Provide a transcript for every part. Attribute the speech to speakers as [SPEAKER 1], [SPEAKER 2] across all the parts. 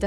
[SPEAKER 1] Det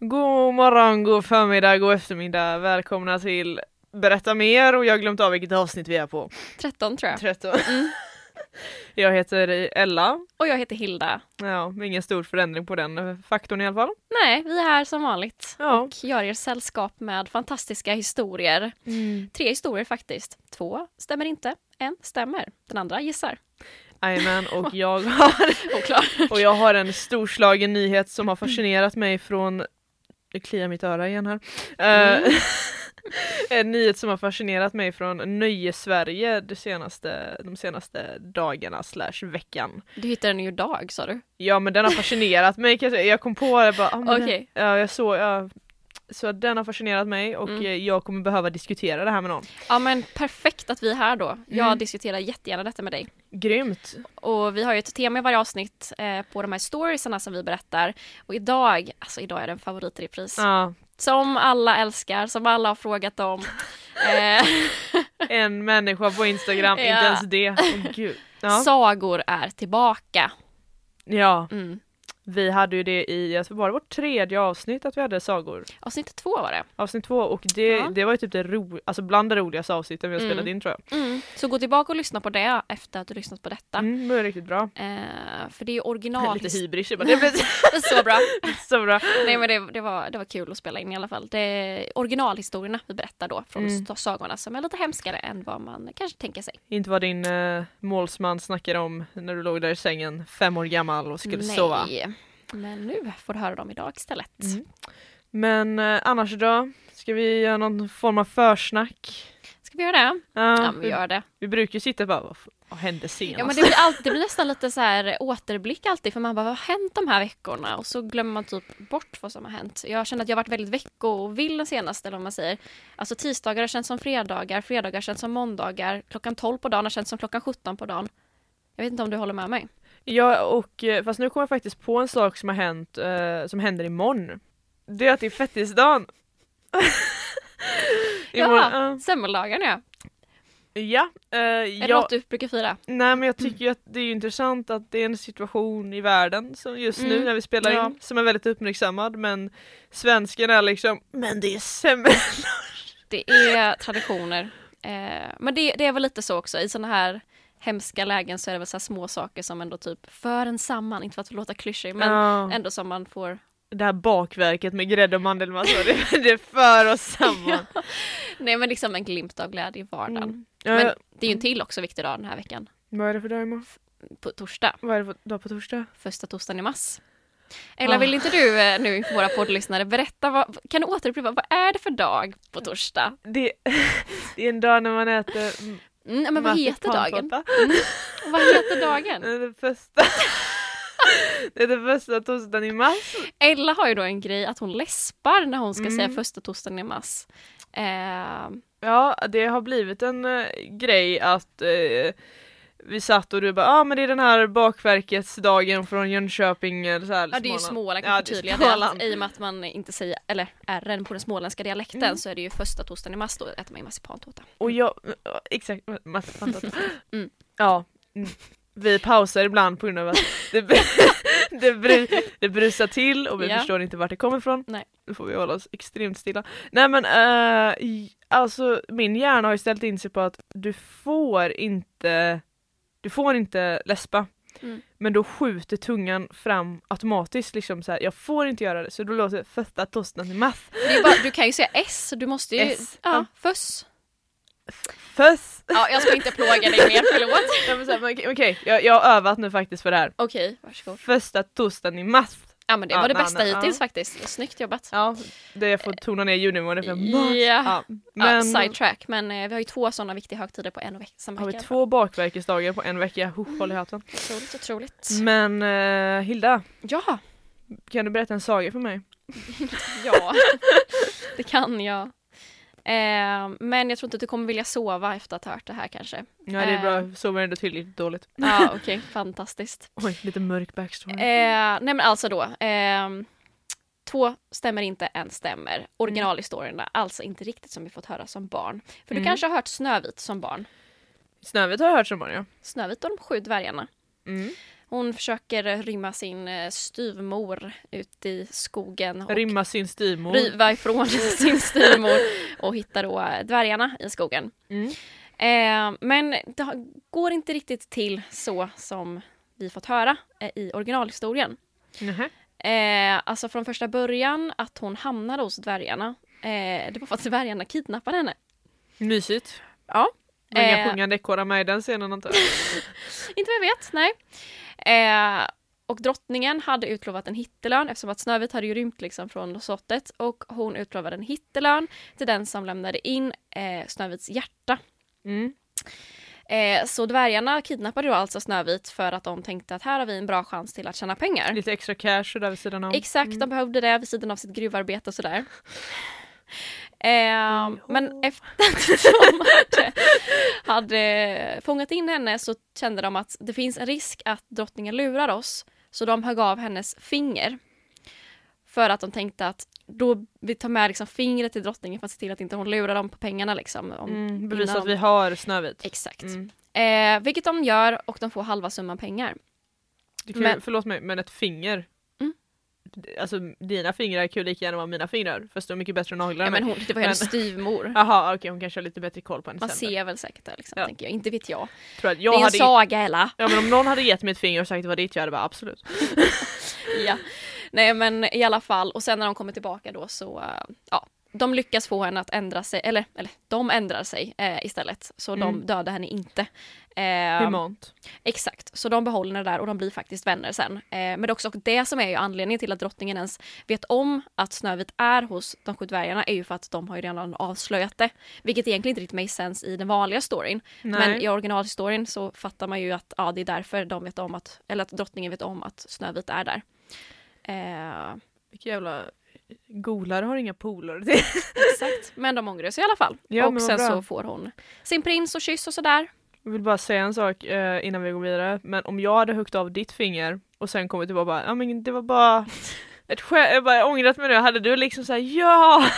[SPEAKER 2] God morgon, god förmiddag, god eftermiddag. Välkomna till Berätta mer och jag har glömt av vilket avsnitt vi är på.
[SPEAKER 3] 13 tror jag.
[SPEAKER 2] 13. Jag heter Ella.
[SPEAKER 3] Och jag heter Hilda.
[SPEAKER 2] Ja, ingen stor förändring på den faktorn i alla fall.
[SPEAKER 3] Nej, vi är här som vanligt
[SPEAKER 2] Ja.
[SPEAKER 3] och gör er sällskap med fantastiska historier. Tre historier faktiskt. Två stämmer inte, en stämmer, den andra gissar.
[SPEAKER 2] Jajamän, och jag har
[SPEAKER 3] Oklar.
[SPEAKER 2] Och jag har en storslagen nyhet som har fascinerat mig från det kliar mitt öra igen här. Eh,
[SPEAKER 3] Mm.
[SPEAKER 2] en nyhet som har fascinerat mig från Nöjesverige de senaste, de senaste dagarna slash veckan.
[SPEAKER 3] Du hittade den ju idag sa du.
[SPEAKER 2] Ja men den har fascinerat mig kan jag säga. Jag kom på det bara, ah, men
[SPEAKER 3] Okej.
[SPEAKER 2] den, ja, jag såg, ja. så att den har fascinerat mig och eh,
[SPEAKER 3] Mm.
[SPEAKER 2] jag kommer behöva diskutera det här med någon.
[SPEAKER 3] Ja men perfekt att vi är här då. Jag
[SPEAKER 2] Mm.
[SPEAKER 3] diskuterar jättegärna detta med dig.
[SPEAKER 2] Grymt!
[SPEAKER 3] Och vi har ju ett tema i varje avsnitt eh, på de här storiesarna som vi berättar. Och idag, alltså idag är det en favorit i repris.
[SPEAKER 2] Ja,
[SPEAKER 3] Som alla älskar, som alla har frågat om. Eh,
[SPEAKER 2] en människa på Instagram,
[SPEAKER 3] Ja.
[SPEAKER 2] inte ens det. Åh, gud. Ja.
[SPEAKER 3] Sagor är tillbaka.
[SPEAKER 2] ja,
[SPEAKER 3] Mm.
[SPEAKER 2] Vi hade ju det i, jag tror bara det var vårt tredje avsnitt att vi hade sagor.
[SPEAKER 3] Avsnitt två var det.
[SPEAKER 2] Avsnitt två och det,
[SPEAKER 3] Ja. Mm.
[SPEAKER 2] det var ju typ det ro, alltså bland det roligaste avsnitten vi har spelat in tror jag.
[SPEAKER 3] Så gå tillbaka och lyssna på det efter att du lyssnat på detta.
[SPEAKER 2] Mm, det var riktigt bra.
[SPEAKER 3] Eh, för det är ju
[SPEAKER 2] Lite
[SPEAKER 3] originalhistoria.
[SPEAKER 2] hybris, jag bara, det blev
[SPEAKER 3] Så bra.
[SPEAKER 2] så bra.
[SPEAKER 3] Nej men det, det, var, det var kul att spela in i alla fall. Det är originalhistorierna vi berättar då från mm. sagorna som är lite hemskare än vad man kanske tänker sig.
[SPEAKER 2] Inte vad din eh, målsman snackade om när du låg där i sängen fem år gammal och skulle
[SPEAKER 3] Nej.
[SPEAKER 2] sova. Mm.
[SPEAKER 3] Men nu får du höra dem idag istället.
[SPEAKER 2] Men eh, annars då? Ska vi göra någon form av försnack?
[SPEAKER 3] Ska vi göra det?
[SPEAKER 2] Ja,
[SPEAKER 3] Ja men vi gör det.
[SPEAKER 2] vi, vi brukar ju sitta och bara, vad, f- vad hände senast?
[SPEAKER 3] Ja alltså. men det blir, alltid, det blir nästan lite så här återblick alltid för man bara vad har hänt de här veckorna och så glömmer man typ bort vad som har hänt. Jag känner att jag har varit väldigt veckovill den senaste eller vad man säger. Alltså tisdagar har känts som fredagar, fredagar har känts som måndagar, klockan 12 på dagen har känts som klockan 17 på dagen. Jag vet inte om du håller med mig?
[SPEAKER 2] Ja, och eh, fast nu kommer jag faktiskt på en sak som har hänt, eh, som händer imorgon. Det är att det är fettisdagen!
[SPEAKER 3] Ja,
[SPEAKER 2] imorgon,
[SPEAKER 3] semmeldagarna ja.
[SPEAKER 2] ja. ja, eh,
[SPEAKER 3] Är det
[SPEAKER 2] jag,
[SPEAKER 3] något du brukar fira?
[SPEAKER 2] nej men jag tycker ju att det är ju intressant att det är en situation i världen som just nu
[SPEAKER 3] Mm,
[SPEAKER 2] när vi spelar
[SPEAKER 3] ja.
[SPEAKER 2] in som är väldigt uppmärksammad men svensken är liksom men det är semmel.
[SPEAKER 3] Det är traditioner. Eh, men det, det är väl lite så också i sådana här hemska lägen så är det väl så här små saker som ändå typ för en samman, inte för att låta klyschig men
[SPEAKER 2] Ja.
[SPEAKER 3] ändå som man får
[SPEAKER 2] Det här bakverket med grädde och mandelmassa det, det för oss samman.
[SPEAKER 3] Nej men liksom en glimt av glädje i vardagen.
[SPEAKER 2] Mm. Ja,
[SPEAKER 3] Mm. Men det är ju en till också viktig dag den här veckan.
[SPEAKER 2] vad är det för dag imorgon?
[SPEAKER 3] På torsdag,
[SPEAKER 2] Vad är det för dag på torsdag?
[SPEAKER 3] första torsdagen i mars.
[SPEAKER 2] Ah.
[SPEAKER 3] Eller vill inte du eh, nu inför våra poddlyssnare berätta, vad, kan du återupprepa, vad är det för dag på torsdag?
[SPEAKER 2] Det, det är en dag när man äter mm,
[SPEAKER 3] Mm, men vad
[SPEAKER 2] Matti
[SPEAKER 3] heter dagen?
[SPEAKER 2] pannkaka.
[SPEAKER 3] Vad heter dagen?
[SPEAKER 2] Det är det första. Det är det första torsdagen i mars.
[SPEAKER 3] Ella har ju då en grej att hon läspar när hon ska
[SPEAKER 2] Mm.
[SPEAKER 3] säga första torsdagen i mars. Eh,
[SPEAKER 2] Ja, det har blivit en eh, grej att eh, vi satt och du bara ja ah, men det är den här bakverkets dagen från Jönköping eller så här,
[SPEAKER 3] ja det är ju
[SPEAKER 2] Småland."
[SPEAKER 3] Småland,
[SPEAKER 2] Ja,
[SPEAKER 3] kan
[SPEAKER 2] det är
[SPEAKER 3] förtydliga
[SPEAKER 2] Småland.
[SPEAKER 3] det. I och med att man inte säger, eller r på den småländska dialekten
[SPEAKER 2] Mm.
[SPEAKER 3] så är det ju första torsdagen i mars då äter man ju marsipantårta.
[SPEAKER 2] Och jag, ja, exakt, man fattar.
[SPEAKER 3] Mm.
[SPEAKER 2] Ja, mm. vi pausar ibland på grund av att det, det, bru, det brusar till och vi
[SPEAKER 3] Ja.
[SPEAKER 2] förstår inte vart det kommer ifrån.
[SPEAKER 3] Nej.
[SPEAKER 2] Nu får vi hålla oss extremt stilla. Nej men eh, j- alltså min hjärna har ju ställt in sig på att du får inte, du får inte läspa.
[SPEAKER 3] Mm.
[SPEAKER 2] Men då skjuter tungan fram automatiskt liksom så här. jag får inte göra det så då låter fetta tosten i mass.
[SPEAKER 3] Det är bara, du kan ju säga S, du måste ju...
[SPEAKER 2] S, ja.
[SPEAKER 3] Ja, fuss.
[SPEAKER 2] Fuss!
[SPEAKER 3] Ja, jag ska inte plåga dig mer, förlåt.
[SPEAKER 2] Ja, men så här, men Okej, okej, jag, jag har övat nu faktiskt för det här.
[SPEAKER 3] Okej, varsågod.
[SPEAKER 2] första torsdagen i mars.
[SPEAKER 3] Ja men det
[SPEAKER 2] Ja,
[SPEAKER 3] var det
[SPEAKER 2] nej,
[SPEAKER 3] bästa
[SPEAKER 2] nej,
[SPEAKER 3] hittills
[SPEAKER 2] ja.
[SPEAKER 3] faktiskt. Snyggt jobbat.
[SPEAKER 2] Ja, det jag får tona ner ljudnivån för mars.
[SPEAKER 3] Ja.
[SPEAKER 2] Ja,
[SPEAKER 3] Ja,
[SPEAKER 2] men
[SPEAKER 3] side track, men eh, vi har ju två sådana viktiga högtider på en och veck- samma
[SPEAKER 2] har vi
[SPEAKER 3] vecka.
[SPEAKER 2] två bakverkesdagar på en vecka? Ho, håll i hatten.
[SPEAKER 3] Mm. Otroligt, otroligt.
[SPEAKER 2] Men eh, Hilda,
[SPEAKER 3] Ja,
[SPEAKER 2] Kan du berätta en saga för mig?
[SPEAKER 3] Ja, det kan jag. Eh, men jag tror inte att du kommer vilja sova efter att ha hört det här kanske.
[SPEAKER 2] Nej det är bra,
[SPEAKER 3] Eh.
[SPEAKER 2] jag sover ändå tillräckligt dåligt.
[SPEAKER 3] Ja, okej, fantastiskt.
[SPEAKER 2] Oj, lite mörk backstory.
[SPEAKER 3] Eh, nej men alltså då. ehm, två stämmer inte, en stämmer. Originalhistorierna, alltså inte riktigt som vi fått höra som barn. För du
[SPEAKER 2] Mm.
[SPEAKER 3] kanske har hört Snövit som barn.
[SPEAKER 2] Snövit har jag hört som barn ja.
[SPEAKER 3] Snövit och de sju dvärgarna.
[SPEAKER 2] Mm.
[SPEAKER 3] Hon försöker eh, rymma sin eh, styvmor ut i skogen. Och
[SPEAKER 2] Rimma sin styvmor.
[SPEAKER 3] riva ifrån sin styvmor och hitta då eh, dvärgarna i skogen.
[SPEAKER 2] Mm.
[SPEAKER 3] Eh, men det har- går inte riktigt till så som vi fått höra eh, i originalhistorien.
[SPEAKER 2] Nähä.
[SPEAKER 3] Eh, alltså från första början att hon hamnade hos dvärgarna. Eh, det var för att dvärgarna kidnappade henne.
[SPEAKER 2] Mysigt.
[SPEAKER 3] Ja.
[SPEAKER 2] Men inga
[SPEAKER 3] Eh.
[SPEAKER 2] sjungande ekorrar med i den scenen antar jag.
[SPEAKER 3] Inte vad jag vet, nej. Eh, och drottningen hade utlovat en hittelön eftersom att Snövit hade ju rymt liksom från slottet och hon utlovade en hittelön till den som lämnade in eh, Snövits hjärta.
[SPEAKER 2] Mm.
[SPEAKER 3] Eh, så dvärgarna kidnappade då alltså Snövit för att de tänkte att här har vi en bra chans till att tjäna pengar.
[SPEAKER 2] Lite extra cash och där vid sidan om.
[SPEAKER 3] Exakt, de behövde det vid sidan av sitt gruvarbete och sådär. Eh, men efter att de hade, hade fångat in henne så kände de att det finns en risk att drottningen lurar oss. Så de högg av hennes finger. För att de tänkte att då vi tar med liksom fingret till drottningen för att se till att inte hon lurar dem på pengarna. Liksom, om,
[SPEAKER 2] Mm. Bevisa
[SPEAKER 3] innan
[SPEAKER 2] att
[SPEAKER 3] de-
[SPEAKER 2] vi har Snövit.
[SPEAKER 3] Exakt.
[SPEAKER 2] Mm.
[SPEAKER 3] Eh, vilket de gör och de får halva summan pengar.
[SPEAKER 2] Det kan
[SPEAKER 3] Men-
[SPEAKER 2] ju, förlåt mig, men ett finger.
[SPEAKER 3] Mm.
[SPEAKER 2] D- Alltså dina fingrar kan ju lika gärna vara mina fingrar, fast du är mycket bättre naglar
[SPEAKER 3] Ja,
[SPEAKER 2] än
[SPEAKER 3] men
[SPEAKER 2] mig.
[SPEAKER 3] hon, det var ju hennes styvmor.
[SPEAKER 2] Jaha okej, hon kanske har lite bättre koll på hennes
[SPEAKER 3] Man
[SPEAKER 2] händer.
[SPEAKER 3] ser väl säkert det, liksom,
[SPEAKER 2] Ja.
[SPEAKER 3] tänker jag. Inte vet jag.
[SPEAKER 2] Tror att
[SPEAKER 3] det
[SPEAKER 2] jag
[SPEAKER 3] är en
[SPEAKER 2] hade
[SPEAKER 3] saga, Ella.
[SPEAKER 2] Ja men om någon hade gett mig ett finger och sagt att det var ditt, jag hade bara absolut.
[SPEAKER 3] Ja. Nej men i alla fall, och sen när de kommer tillbaka då så, eh, ja, de lyckas få henne att ändra sig, eller, eller de ändrar sig eh, istället. Så de
[SPEAKER 2] Mm.
[SPEAKER 3] dödar henne inte. Eh,
[SPEAKER 2] Humant.
[SPEAKER 3] exakt, så de behåller henne där och de blir faktiskt vänner sen. Eh, men det är också det som är ju anledningen till att drottningen ens vet om att Snövit är hos de sju dvärgarna är ju för att de har ju redan avslöjat det. Vilket egentligen inte riktigt makes sense i den vanliga storyn.
[SPEAKER 2] Nej.
[SPEAKER 3] Men i originalhistorien så fattar man ju att ja, det är därför de vet om att, eller att drottningen vet om att Snövit är där. Eh,
[SPEAKER 2] Vilka jävla golare har inga polare till.
[SPEAKER 3] exakt. Men de ångrar sig i alla fall.
[SPEAKER 2] Ja, men
[SPEAKER 3] och
[SPEAKER 2] vad
[SPEAKER 3] sen
[SPEAKER 2] bra.
[SPEAKER 3] så får hon sin prins och kyss och sådär.
[SPEAKER 2] Jag vill bara säga en sak eh, innan vi går vidare, men om jag hade huggit av ditt finger och sen kommit tillbaka och bara, ja men det var bara ett skämt, jag bara ångrat mig nu, hade du liksom såhär ja! Mm.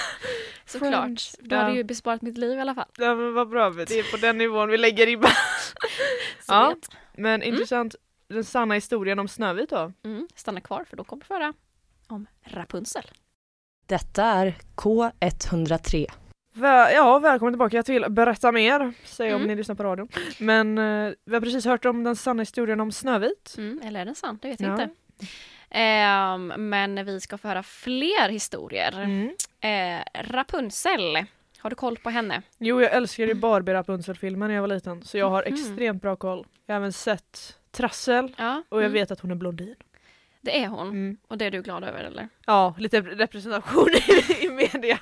[SPEAKER 3] Såklart.
[SPEAKER 2] Friends.
[SPEAKER 3] Du hade
[SPEAKER 2] Ja.
[SPEAKER 3] ju besparat mitt liv i alla fall.
[SPEAKER 2] ja men vad bra, det är på den nivån vi lägger ribban. Mm.
[SPEAKER 3] Så
[SPEAKER 2] Ja,
[SPEAKER 3] vet.
[SPEAKER 2] men intressant, den sanna historien om Snövit då.
[SPEAKER 3] Mm, stanna kvar för då kommer vi få höra om Rapunzel.
[SPEAKER 4] Detta är K103.
[SPEAKER 2] Vä- ja, välkommen tillbaka till Berätta Mer, säg om
[SPEAKER 3] Mm.
[SPEAKER 2] ni lyssnar på radion. Men eh, vi har precis hört om den sanna historien om Snövit.
[SPEAKER 3] Mm, eller är den sann? Det vet jag
[SPEAKER 2] Ja.
[SPEAKER 3] inte. Ehm, men vi ska få höra fler historier.
[SPEAKER 2] Mm.
[SPEAKER 3] Eh, Rapunzel, har du koll på henne?
[SPEAKER 2] Jo, jag älskade ju Barbie Rapunzel-filmen när jag var liten, så jag har
[SPEAKER 3] Mhm.
[SPEAKER 2] extremt bra koll. Jag har även sett Trassel,
[SPEAKER 3] Ja,
[SPEAKER 2] och jag
[SPEAKER 3] mm,
[SPEAKER 2] vet att hon är blondin.
[SPEAKER 3] det är hon.
[SPEAKER 2] Mm.
[SPEAKER 3] Och det är du glad över eller?
[SPEAKER 2] Ja, lite representation i, i media.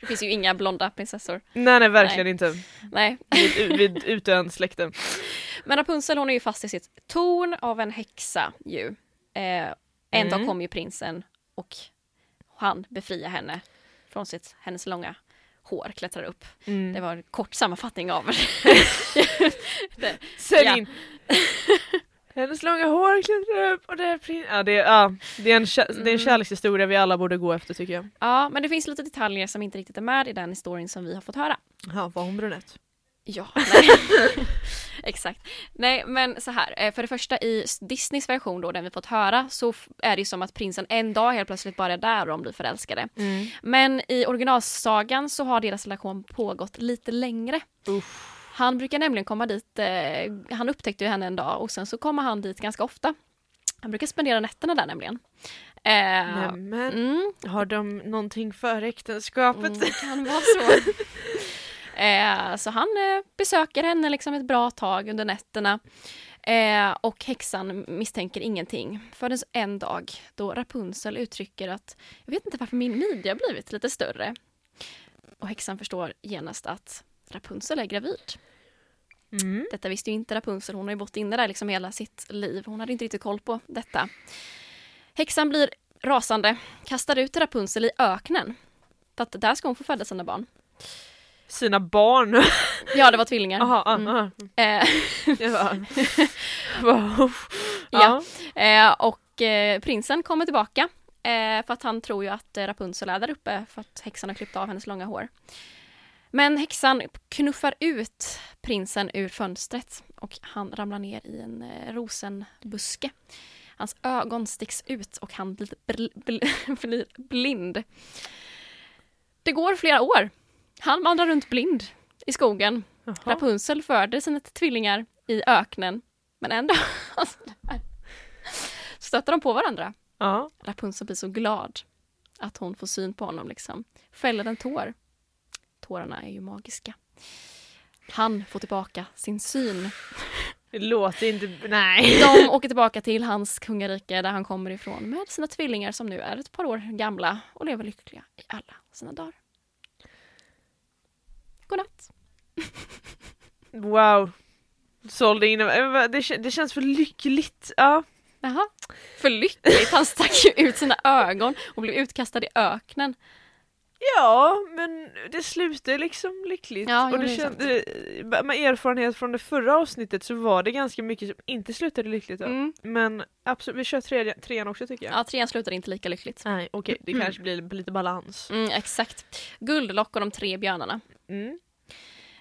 [SPEAKER 3] Det finns ju inga blonda prinsessor.
[SPEAKER 2] Nej, nej verkligen inte.
[SPEAKER 3] Nej.
[SPEAKER 2] Vid, vid utön släkten.
[SPEAKER 3] Men Rapunzel hon är ju fast i sitt torn av en häxa ju. Eh, en dag
[SPEAKER 2] Mm.
[SPEAKER 3] kom ju prinsen och han befriar henne från sitt, hennes långa hår klättrar upp.
[SPEAKER 2] Mm.
[SPEAKER 3] Det var en kort sammanfattning av
[SPEAKER 2] Sälj
[SPEAKER 3] Ja.
[SPEAKER 2] in! Hennes långa hår klättrar upp och det är prin- ja, det, är, ja, det, är en kä- det är en kärlekshistoria vi alla borde gå efter tycker jag.
[SPEAKER 3] Ja, men det finns lite detaljer som inte riktigt är med i den historien som vi har fått höra.
[SPEAKER 2] Ja, var hon brunett?
[SPEAKER 3] Ja, nej. exakt. Nej, men så här. eh, För det första i Disneys version då, den vi fått höra, så f- är det ju som att prinsen en dag helt plötsligt bara är där och de blir förälskade. Men i originalsagan så har deras relation pågått lite längre.
[SPEAKER 2] Uff.
[SPEAKER 3] Han brukar nämligen komma dit, eh, han upptäckte ju henne en dag och sen så kommer han dit ganska ofta. Han brukar spendera nätterna där nämligen. Eh,
[SPEAKER 2] Nämen,
[SPEAKER 3] mm,
[SPEAKER 2] har de någonting före äktenskapet?
[SPEAKER 3] Mm, det kan vara så. eh, så han eh, besöker henne liksom ett bra tag under nätterna. Eh, och häxan misstänker ingenting förrän en dag då Rapunzel uttrycker att jag vet inte varför min midja blivit lite större. Och häxan förstår genast att Rapunzel är gravid.
[SPEAKER 2] Mm.
[SPEAKER 3] Detta visste ju inte Rapunzel, hon har ju bott inne där liksom hela sitt liv. Hon hade inte riktigt koll på detta. Häxan blir rasande, kastar ut Rapunzel i öknen. För att där ska hon få föda sina barn.
[SPEAKER 2] Sina barn.
[SPEAKER 3] Ja, det var tvillingar.
[SPEAKER 2] Aha, aha.
[SPEAKER 3] Mm. Eh,
[SPEAKER 2] Jag bara- bara, uff.
[SPEAKER 3] Ja. Eh, och eh, prinsen kommer tillbaka eh, för att han tror ju att eh, Rapunzel är där uppe för att häxan har klippt av hennes långa hår. Men häxan knuffar ut prinsen ur fönstret och han ramlar ner i en eh, rosenbuske. Hans ögon sticks ut och han blir, bl- bl- blir blind. Det går flera år. Han vandrar runt blind i skogen.
[SPEAKER 2] Jaha.
[SPEAKER 3] Rapunzel föder sina tvillingar i öknen. Men en dag alltså, det här. stöter de på varandra.
[SPEAKER 2] Ja.
[SPEAKER 3] Rapunzel blir så glad att hon får syn på honom. Liksom. Fäller en tår. Tårarna är ju magiska. Han får tillbaka sin syn.
[SPEAKER 2] Det låter inte... Nej.
[SPEAKER 3] De åker tillbaka till hans kungarike där han kommer ifrån med sina tvillingar som nu är ett par år gamla och lever lyckliga i alla sina dagar. Godnatt.
[SPEAKER 2] Wow. Sålde in... Det, kän- det känns för lyckligt. Ja.
[SPEAKER 3] Jaha. För lyckligt, han stack ju ut sina ögon och blev utkastad i öknen.
[SPEAKER 2] Ja, men det slutar liksom lyckligt.
[SPEAKER 3] Ja, jo,
[SPEAKER 2] och det
[SPEAKER 3] det är sant.
[SPEAKER 2] kände, med erfarenhet från det förra avsnittet så var det ganska mycket som inte slutade lyckligt. då.
[SPEAKER 3] Mm.
[SPEAKER 2] Men absolut, vi kör tredje, trean också tycker jag. Mm.
[SPEAKER 3] Ja, trean slutar inte lika lyckligt.
[SPEAKER 2] Nej, okej, det kanske blir lite balans.
[SPEAKER 3] Mm, exakt. Guldlock och de tre björnarna.
[SPEAKER 2] Mm.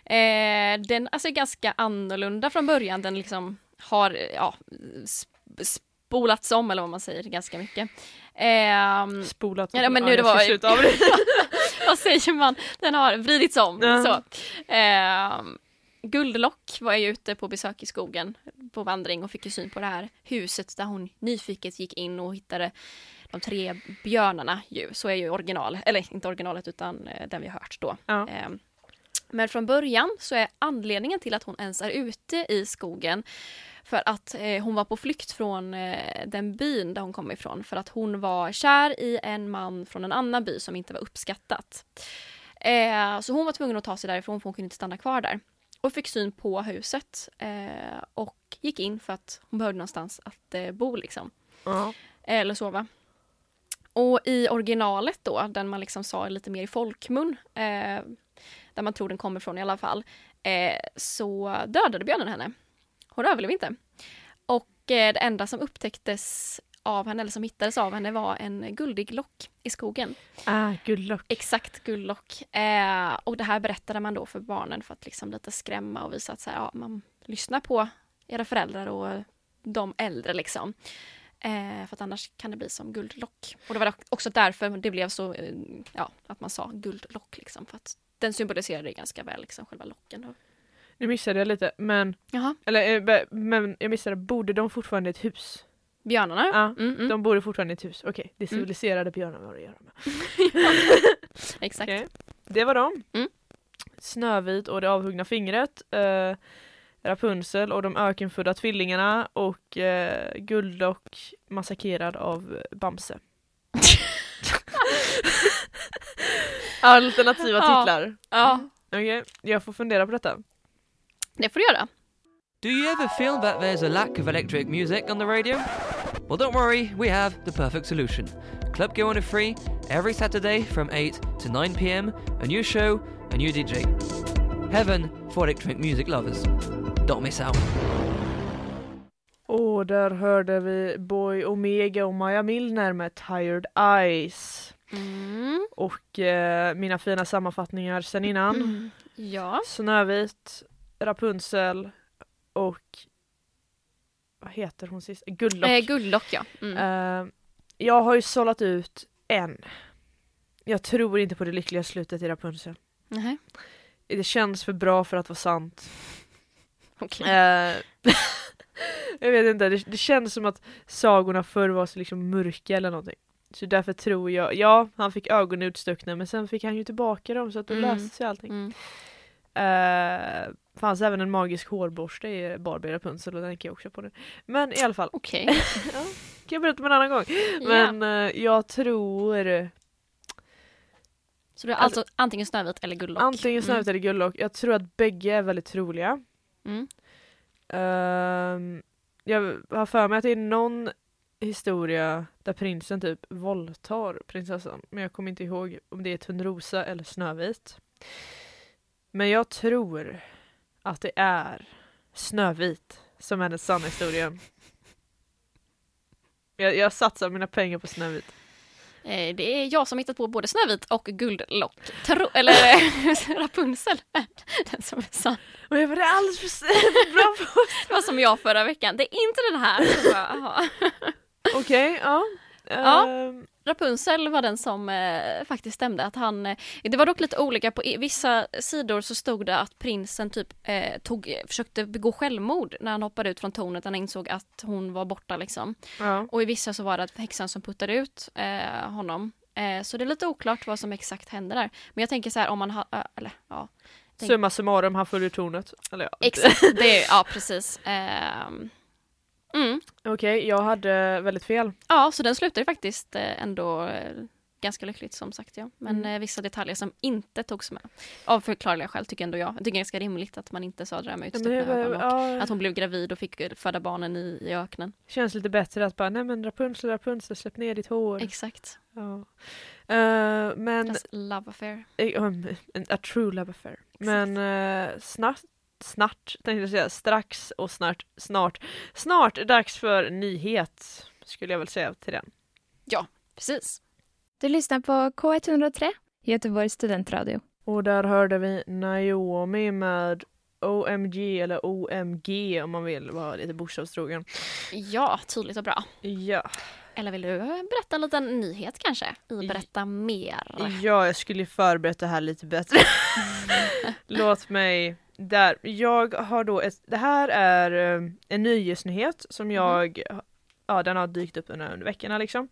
[SPEAKER 3] Eh, den alltså, är ganska annorlunda från början. Den liksom har eh, ja, sp- spolats om, eller vad man säger, ganska mycket. Ehm,
[SPEAKER 2] Spolat.
[SPEAKER 3] Ja, men nu
[SPEAKER 2] jag
[SPEAKER 3] det
[SPEAKER 2] ska
[SPEAKER 3] var-
[SPEAKER 2] sluta av det.
[SPEAKER 3] vad säger man? Den har vridits om.
[SPEAKER 2] Ja.
[SPEAKER 3] Så. Ehm, Guldlock var ju ute på besök i skogen på vandring och fick ju syn på det här huset där hon nyfiket gick in och hittade de tre björnarna ju. Så är ju original, eller inte originalet utan eh, den vi har hört då.
[SPEAKER 2] Ja.
[SPEAKER 3] Ehm, Men från början så är anledningen till att hon ens är ute i skogen för att eh, hon var på flykt från eh, den byn där hon kom ifrån. För att hon var kär i en man från en annan by som inte var uppskattat. Eh, så hon var tvungen att ta sig därifrån för hon kunde inte stanna kvar där. Och fick syn på huset eh, och gick in för att hon behövde någonstans att eh, bo liksom.
[SPEAKER 2] Ja.
[SPEAKER 3] Eh, Eller sova. Och i originalet då, den man liksom sa lite mer i folkmun, eh, där man tror den kommer från i alla fall, eh, så dödade björnen henne. Hon överlevde inte. Och eh, det enda som upptäcktes av henne, eller som hittades av henne, var en guldig lock i skogen.
[SPEAKER 2] Ah, good luck.
[SPEAKER 3] Exakt, guldlock. Eh, och det här berättade man då för barnen för att liksom lite skrämma och visa att så här, ja, man lyssnar på era föräldrar och de äldre liksom. Eh, för att annars kan det bli som guldlock. Och det var dock- också därför det blev så, eh, ja, att man sa guldlock liksom. För att den symboliserade ganska väl liksom själva locken. Och,
[SPEAKER 2] Nu missade jag lite, men...
[SPEAKER 3] jaha,
[SPEAKER 2] Eller, eh, be- men jag missade, borde de fortfarande i ett hus?
[SPEAKER 3] björnarna.
[SPEAKER 2] Ja.
[SPEAKER 3] Mm, mm,
[SPEAKER 2] De bor fortfarande i ett hus, okej. Det är civiliserade björnar vi har att göra med.
[SPEAKER 3] exakt.
[SPEAKER 2] Okej. Det var de.
[SPEAKER 3] Mm.
[SPEAKER 2] Snövit och det avhuggna fingret. Eh, Rapunzel och de ökenfödda tvillingarna och eh, Guldlock massakrerad av Bamse. Alternativa
[SPEAKER 3] Ja.
[SPEAKER 2] titlar.
[SPEAKER 3] Ja,
[SPEAKER 2] Okej, jag får fundera på detta.
[SPEAKER 3] det får du göra.
[SPEAKER 5] Do you ever feel that there's a lack of electric music on the radio? Well, don't worry, we have the perfect solution. Club Go on a Free, every Saturday from 8 to 9 pm, a new show, a new DJ. Heaven for electronic music lovers. Don't miss out.
[SPEAKER 2] Och där hörde vi Boy Omega och Maja Milner med Tired Eyes.
[SPEAKER 3] Mm,
[SPEAKER 2] Och eh, mina fina sammanfattningar sen innan.
[SPEAKER 3] Mm. ja,
[SPEAKER 2] Snövit, Rapunzel och vad heter hon sist? Guldlock.
[SPEAKER 3] eh, guldlock ja. Mm.
[SPEAKER 2] Eh, jag har ju sållat ut en. Jag tror inte på det lyckliga slutet i Rapunzel.
[SPEAKER 3] Nähä,
[SPEAKER 2] Det känns för bra för att vara sant.
[SPEAKER 3] okej.
[SPEAKER 2] Eh, jag vet inte, det, det känns som att sagorna förr var så liksom mörka eller någonting. Så därför tror jag, ja han fick ögonen utstuckna men sen fick han ju tillbaka dem så att då
[SPEAKER 3] Mm.
[SPEAKER 2] löste sig allting.
[SPEAKER 3] Mm.
[SPEAKER 2] Eh, fanns även en magisk hårborste i Barbie Rapunzel och den kan jag också på nu. Men i alla fall,
[SPEAKER 3] Okej.
[SPEAKER 2] kan jag berätta om en annan gång.
[SPEAKER 3] Ja.
[SPEAKER 2] Men eh, jag tror
[SPEAKER 3] Så du har alltså antingen Snövit eller Guldlock?
[SPEAKER 2] antingen Snövit eller Guldlock. Jag tror att bägge är väldigt troliga.
[SPEAKER 3] Mm. Mm.
[SPEAKER 2] Ehm, jag har för mig att det är någon historia där prinsen typ våldtar prinsessan. Men jag kommer inte ihåg om det är Törnrosa eller Snövit. Men jag tror att det är Snövit som är den sanna historien. Jag, jag satsar mina pengar på Snövit.
[SPEAKER 3] Eh, Det är jag som hittat på både Snövit och Guldlock. Tro, eller Rapunzel är den som är sann.
[SPEAKER 2] Och jag var alldeles för för bra på.
[SPEAKER 3] Det var som jag förra veckan. Det är inte den här. Så bara, aha.
[SPEAKER 2] Okej, ja.
[SPEAKER 3] Ja.
[SPEAKER 2] Ehm,
[SPEAKER 3] Rapunzel var den som eh, faktiskt stämde. Att han, eh, det var dock lite olika, på i- vissa sidor så stod det att prinsen typ eh, tog, försökte begå självmord när han hoppade ut från tornet. Han insåg att hon var borta liksom.
[SPEAKER 2] ja.
[SPEAKER 3] Och i vissa så var det att häxan som puttade ut eh, honom. Eh, så det är lite oklart vad som exakt hände där. Men jag tänker så här om man har, eller ja. Tänk-
[SPEAKER 2] Summa summarum, han följer tornet. Eller ja.
[SPEAKER 3] Exakt, det är, ja precis. Ehm, mm.
[SPEAKER 2] Okej, jag hade väldigt fel.
[SPEAKER 3] Ja, så den slutar ju faktiskt eh, ändå eh, ganska lyckligt som sagt ja. Men eh, vissa detaljer som inte togs med. Av förklarliga skäl tycker ändå jag. Jag tycker det är ganska rimligt att man inte sa det där med utstuckna ögon. och
[SPEAKER 2] ja,
[SPEAKER 3] Att hon blev gravid och fick eh, föda barnen i, i öknen.
[SPEAKER 2] Känns lite bättre att bara, nej men Rapunzel, Rapunzel, släpp ner ditt hår.
[SPEAKER 3] Exakt.
[SPEAKER 2] ja. Eh, men,
[SPEAKER 3] Deras love affair.
[SPEAKER 2] eh, um, a true love affair. Men eh, snart, snart, tänkte jag säga, strax och snart, snart, snart dags för nyhet, skulle jag väl säga till den.
[SPEAKER 3] Precis.
[SPEAKER 6] Du lyssnar på K103, Göteborgs studentradio.
[SPEAKER 2] Och där hörde vi Naomi med OMG, eller OMG om man vill vara lite bokstavstrogen.
[SPEAKER 3] Ja, tydligt och bra.
[SPEAKER 2] Ja.
[SPEAKER 3] Eller vill du eh, berätta en liten nyhet kanske? I Berätta mer.
[SPEAKER 2] Ja, jag skulle ju förberett det här lite bättre. Låt mig där. Jag har då ett, det här är eh, en nyhetsnyhet
[SPEAKER 3] Mhm.
[SPEAKER 2] som jag, ja den har dykt upp under under veckorna liksom.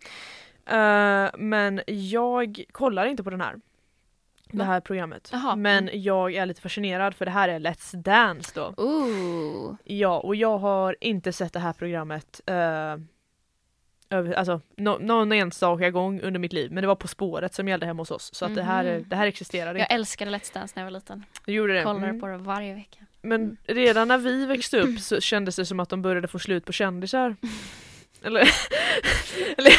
[SPEAKER 2] Eh, men jag kollar inte på den här. Det
[SPEAKER 3] Va?
[SPEAKER 2] här programmet.
[SPEAKER 3] Jaha, mm.
[SPEAKER 2] Men jag är lite fascinerad för det här är Let's Dance då.
[SPEAKER 3] Ooh.
[SPEAKER 2] Ja, och jag har inte sett det här programmet eh, över, alltså, nå- någon enstaka gång under mitt liv, men det var På spåret som gällde hemma hos oss. Så att det, här,
[SPEAKER 3] Mhm.
[SPEAKER 2] det här existerade
[SPEAKER 3] Jag
[SPEAKER 2] inte.
[SPEAKER 3] älskade Let's Dance när jag var liten.
[SPEAKER 2] Det gjorde det.
[SPEAKER 3] Kollade
[SPEAKER 2] Mm.
[SPEAKER 3] på det varje vecka.
[SPEAKER 2] Men redan när vi växte upp så kändes det som att de började få slut på kändisar. Eller... Eller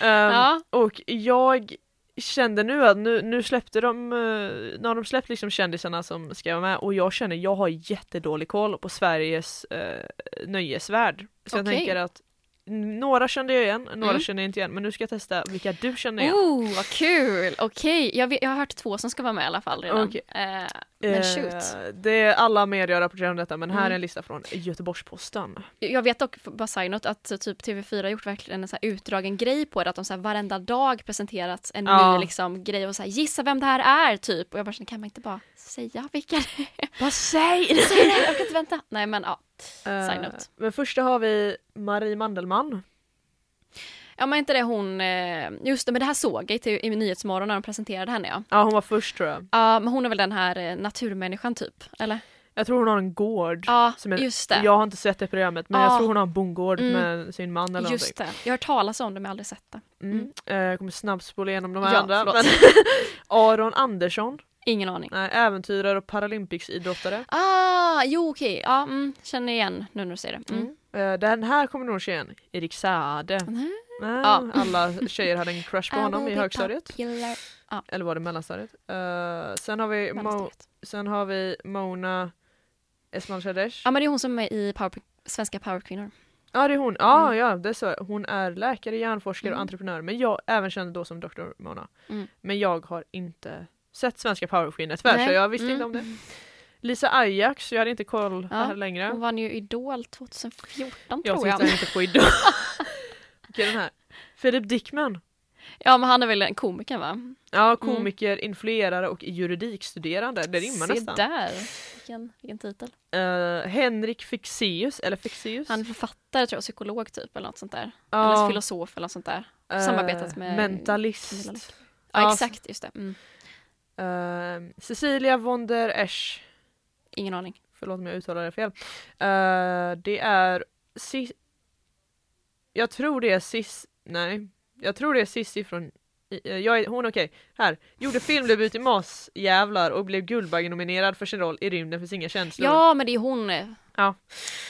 [SPEAKER 2] ehm,
[SPEAKER 3] Ja.
[SPEAKER 2] Och jag kände nu att nu, nu släppte de, eh, nu har de släppt liksom kändisarna som ska vara med och jag känner jag har jättedålig koll på Sveriges eh, nöjesvärld. Så jag
[SPEAKER 3] Okej.
[SPEAKER 2] tänker att några kände jag igen, några
[SPEAKER 3] Mm.
[SPEAKER 2] kände jag inte igen, men nu ska jag testa vilka du känner igen.
[SPEAKER 3] Oh, vad kul! Okej, jag, vet- jag har hört två som ska vara med i alla fall redan.
[SPEAKER 2] Okej.
[SPEAKER 3] Eh, men shoot.
[SPEAKER 2] Eh, det är alla medier rapporterar om detta men här är
[SPEAKER 3] Mm.
[SPEAKER 2] en lista från Göteborgs-Posten.
[SPEAKER 3] Jag vet dock, bara side note, att eh, typ TV4 har gjort verkligen en så här utdragen grej på det, att de så här varenda dag presenterat en
[SPEAKER 2] Ja.
[SPEAKER 3] ny liksom, grej och så här, gissa vem det här är, typ. Och jag bara känner, kan man inte bara säga vilka det är?
[SPEAKER 2] Vad säger
[SPEAKER 3] Så är det, Jag kan inte vänta. Nej men ja, side note.
[SPEAKER 2] Eh, Men första har vi Marie Mandelmann.
[SPEAKER 3] Ja men inte det hon, eh, just det, men det här såg jag i, i Nyhetsmorgon när de presenterade henne ja.
[SPEAKER 2] Ja hon var först tror jag.
[SPEAKER 3] Ja men hon är väl den här eh, naturmänniskan typ, eller?
[SPEAKER 2] Jag tror hon har en gård.
[SPEAKER 3] Ja,
[SPEAKER 2] Som är-
[SPEAKER 3] just det.
[SPEAKER 2] Jag har inte sett det programmet men
[SPEAKER 3] Ah.
[SPEAKER 2] jag tror hon har en bondgård
[SPEAKER 3] Mm.
[SPEAKER 2] med sin man eller
[SPEAKER 3] Just det, jag har hört talas om det men jag har aldrig sett det.
[SPEAKER 2] någonting. Mm. Eh, Jag kommer snabbspola igenom de här
[SPEAKER 3] Ja,
[SPEAKER 2] andra.
[SPEAKER 3] förlåt.
[SPEAKER 2] Men Aron Andersson,
[SPEAKER 3] Ingen aning.
[SPEAKER 2] nej, äventyrare och paralympicsidrottare.
[SPEAKER 3] Ah, jo okej, ja, mm, känner igen nu när du säger det. Mm.
[SPEAKER 2] Eh, Den här kommer du nog känna igen. Erik Saade.
[SPEAKER 3] Nej.
[SPEAKER 2] Nej,
[SPEAKER 3] Ja.
[SPEAKER 2] Alla tjejer hade en crush på honom i högstadiet.
[SPEAKER 3] Popular.
[SPEAKER 2] Eller var det mellanstadiet? Eh, sen, har vi Mo-
[SPEAKER 3] mellanstadiet.
[SPEAKER 2] sen har vi Mona Esmal Shadesh.
[SPEAKER 3] Ja men det är hon som är i power, Svenska powerkvinnor.
[SPEAKER 2] Ja det är hon, ja
[SPEAKER 3] Mm.
[SPEAKER 2] ja det är så. hon är läkare, hjärnforskare och
[SPEAKER 3] Mm.
[SPEAKER 2] entreprenör men jag även känner då som Dr. Mona.
[SPEAKER 3] Mm.
[SPEAKER 2] Men jag har inte sett svenska powerskinnet tyvärr
[SPEAKER 3] Nej.
[SPEAKER 2] så jag visste
[SPEAKER 3] Mm.
[SPEAKER 2] inte om det. Lisa Ajax, jag hade inte koll
[SPEAKER 3] Ja,
[SPEAKER 2] här längre.
[SPEAKER 3] Hon vann ju Idol 2014
[SPEAKER 2] jag
[SPEAKER 3] tror jag.
[SPEAKER 2] tittar inte på Idol. Okej den här. Filip Dickman.
[SPEAKER 3] Ja men han är väl en komiker va?
[SPEAKER 2] Ja, komiker, influerare och juridikstuderande. Det rimmar
[SPEAKER 3] Se
[SPEAKER 2] nästan.
[SPEAKER 3] där, vilken, vilken titel.
[SPEAKER 2] Eh, Henrik Fixeus, eller Fixeus.
[SPEAKER 3] Han är författare tror jag, psykolog typ eller något sånt där.
[SPEAKER 2] Ja,
[SPEAKER 3] Eller filosof eller något sånt där.
[SPEAKER 2] eh,
[SPEAKER 3] samarbetat med-
[SPEAKER 2] Mentalist.
[SPEAKER 3] Ja,
[SPEAKER 2] Ja,
[SPEAKER 3] Ja exakt, just det. Mm.
[SPEAKER 2] eh, Cecilia von der Esch.
[SPEAKER 3] Ingen aning.
[SPEAKER 2] Förlåt om jag uttalar det fel. Eh, det är Sis... Jag tror det är Sis... Nej. Jag tror det är Sissi från i- eh, jag är, hon okej, här. Gjorde filmdebut i Masjävlar och blev Guldbaggenominerad för sin roll i Rymden finns inga känslor.
[SPEAKER 3] Ja, men det är hon. eh,
[SPEAKER 2] Ja.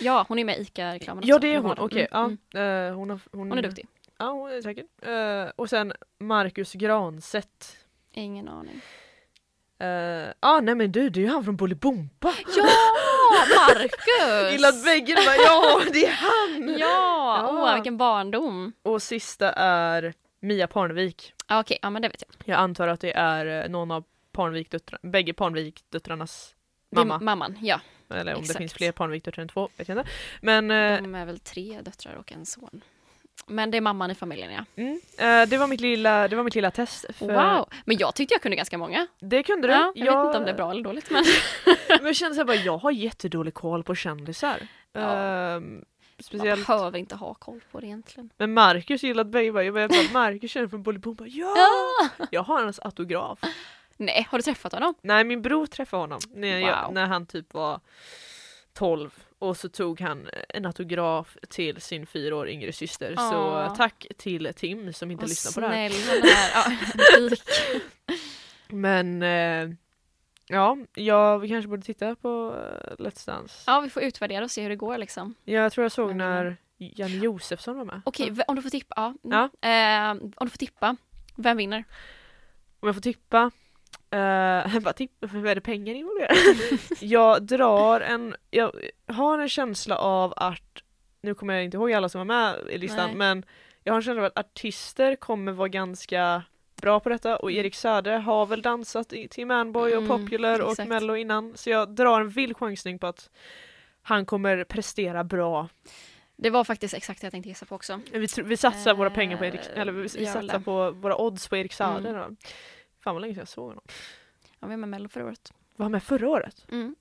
[SPEAKER 3] Ja, hon är med i ICA-reklamen
[SPEAKER 2] Ja
[SPEAKER 3] också.
[SPEAKER 2] det är
[SPEAKER 3] Eller
[SPEAKER 2] hon,
[SPEAKER 3] var det?
[SPEAKER 2] okej.
[SPEAKER 3] Mm, mm.
[SPEAKER 2] ja, eh, hon, har, hon,
[SPEAKER 3] Hon är duktig.
[SPEAKER 2] Ja hon är säkert. Eh, och sen Marcus Granset.
[SPEAKER 3] Ingen aning.
[SPEAKER 2] Ja ah, nej men du, det är ju han från Bolibompa!
[SPEAKER 3] Ja, Marcus!
[SPEAKER 2] Gillat väggen och bara ja det är han!
[SPEAKER 3] Ja, åh
[SPEAKER 2] Ja.
[SPEAKER 3] vilken barndom.
[SPEAKER 2] Och sista är Mia Parnevik.
[SPEAKER 3] Ja, Okej, ja men det vet jag.
[SPEAKER 2] Jag antar att det är eh, någon av Parnevik-döttrarna, bägge Parnevik-döttrarnas
[SPEAKER 3] Det är
[SPEAKER 2] mamma.
[SPEAKER 3] mamman, ja.
[SPEAKER 2] Eller om det
[SPEAKER 3] exakt.
[SPEAKER 2] finns fler Parnevik-döttrar än två, vet jag inte. Men eh,
[SPEAKER 3] De är väl tre döttrar och en son. Men det är mamman i familjen ja.
[SPEAKER 2] mm, eh, det, var mitt lilla, det var mitt lilla test. För
[SPEAKER 3] Wow! Men jag tyckte jag kunde ganska många.
[SPEAKER 2] Det kunde du.
[SPEAKER 3] Ja, jag vet inte om det är bra eller dåligt men
[SPEAKER 2] Men jag kände såhär bara, jag har jättedålig koll på kändisar.
[SPEAKER 3] Ja.
[SPEAKER 2] Ehm,
[SPEAKER 3] jag
[SPEAKER 2] speciellt.
[SPEAKER 3] behöver inte ha koll på det egentligen.
[SPEAKER 2] Men Marcus gillat bägge, bara, jag vet att Marcus känner från Bolibompa, ja! Jag har hans autograf.
[SPEAKER 3] Nej, har du träffat honom?
[SPEAKER 2] Nej min bror träffade honom när, jag,
[SPEAKER 3] Wow.
[SPEAKER 2] när han typ var 12 och så tog han en autograf till sin fyra år yngre syster. Så
[SPEAKER 3] Åh.
[SPEAKER 2] tack till Tim som inte
[SPEAKER 3] Vad
[SPEAKER 2] lyssnar på det här.
[SPEAKER 3] snäll den här. Ja, musik.
[SPEAKER 2] Men eh, ja, jag vi kanske borde titta på eh, Let's Dance.
[SPEAKER 3] ja, vi får utvärdera och se hur det går liksom.
[SPEAKER 2] Jag tror jag såg
[SPEAKER 3] Mm.
[SPEAKER 2] när Janne Josefsson var med.
[SPEAKER 3] Okej, v- om du får tippa. Ja. mm.
[SPEAKER 2] Ja.
[SPEAKER 3] Eh, om du får tippa, vem vinner?
[SPEAKER 2] Om jag får tippa, eh, bara tipp, vad är det pengar involverade? jag drar en, jag har en känsla av att, nu kommer jag inte ihåg alla som var med i listan,
[SPEAKER 3] Nej.
[SPEAKER 2] men jag har en känsla av att artister kommer vara ganska bra på detta och Erik Sade har väl dansat i, till Manboy och
[SPEAKER 3] Mm,
[SPEAKER 2] Popular och
[SPEAKER 3] exakt.
[SPEAKER 2] Mello innan, så jag drar en vild chansning på att han kommer prestera bra.
[SPEAKER 3] Det var faktiskt exakt det jag tänkte gissa på också.
[SPEAKER 2] Vi, tr- vi satsar våra
[SPEAKER 3] Eh,
[SPEAKER 2] pengar på Erik, eller vi, vi
[SPEAKER 3] gör väl
[SPEAKER 2] satsar
[SPEAKER 3] det. Mm.
[SPEAKER 2] på våra odds på Erik Sade då. Fan vad länge sedan jag såg honom.
[SPEAKER 3] Han var med i Mello förra året.
[SPEAKER 2] Var han med förra året?
[SPEAKER 3] Mm.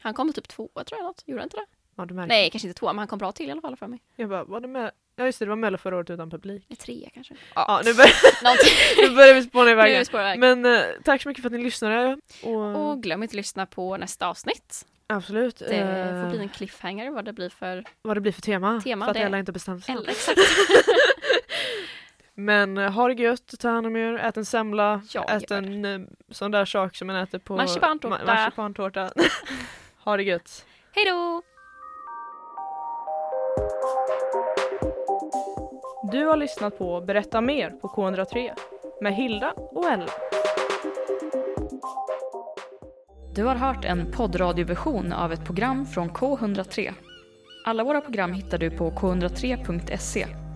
[SPEAKER 3] Han kom typ två tror jag, eller något. gjorde han inte det?
[SPEAKER 2] Ja, du märker.
[SPEAKER 3] Nej, kanske inte två, men han kom bra till i alla fall för mig.
[SPEAKER 2] Jag bara, var det med? Ja just det, det var Mello förra året utan publik.
[SPEAKER 3] Nej, tre kanske.
[SPEAKER 2] Ja, nu, börjar,
[SPEAKER 3] Någonting.
[SPEAKER 2] nu börjar vi spåna
[SPEAKER 3] Nu är vi
[SPEAKER 2] iväg.
[SPEAKER 3] spår iväg.
[SPEAKER 2] Men eh, tack så mycket för att ni lyssnade. Och,
[SPEAKER 3] Och glöm inte att lyssna på nästa avsnitt.
[SPEAKER 2] absolut.
[SPEAKER 3] Det
[SPEAKER 2] eh,
[SPEAKER 3] får bli en cliffhanger vad det blir för...
[SPEAKER 2] Vad det blir för tema.
[SPEAKER 3] Tema,
[SPEAKER 2] för att
[SPEAKER 3] det-
[SPEAKER 2] alla inte bestämt sig.
[SPEAKER 3] Eller exakt.
[SPEAKER 2] Men eh, ha det gött, ta hand om er, ät en semla,
[SPEAKER 3] Ja,
[SPEAKER 2] ät
[SPEAKER 3] gör
[SPEAKER 2] en eh, sån där sak som man äter på
[SPEAKER 3] Marsipantårta.
[SPEAKER 2] Ma- marsipantårta. ha det gött.
[SPEAKER 3] Hej då!
[SPEAKER 2] Du har lyssnat på Berätta mer på K103 med Hilda och Ella.
[SPEAKER 1] Du har hört en poddradioversion av ett program från K103. Alla våra program hittar du på k103.se.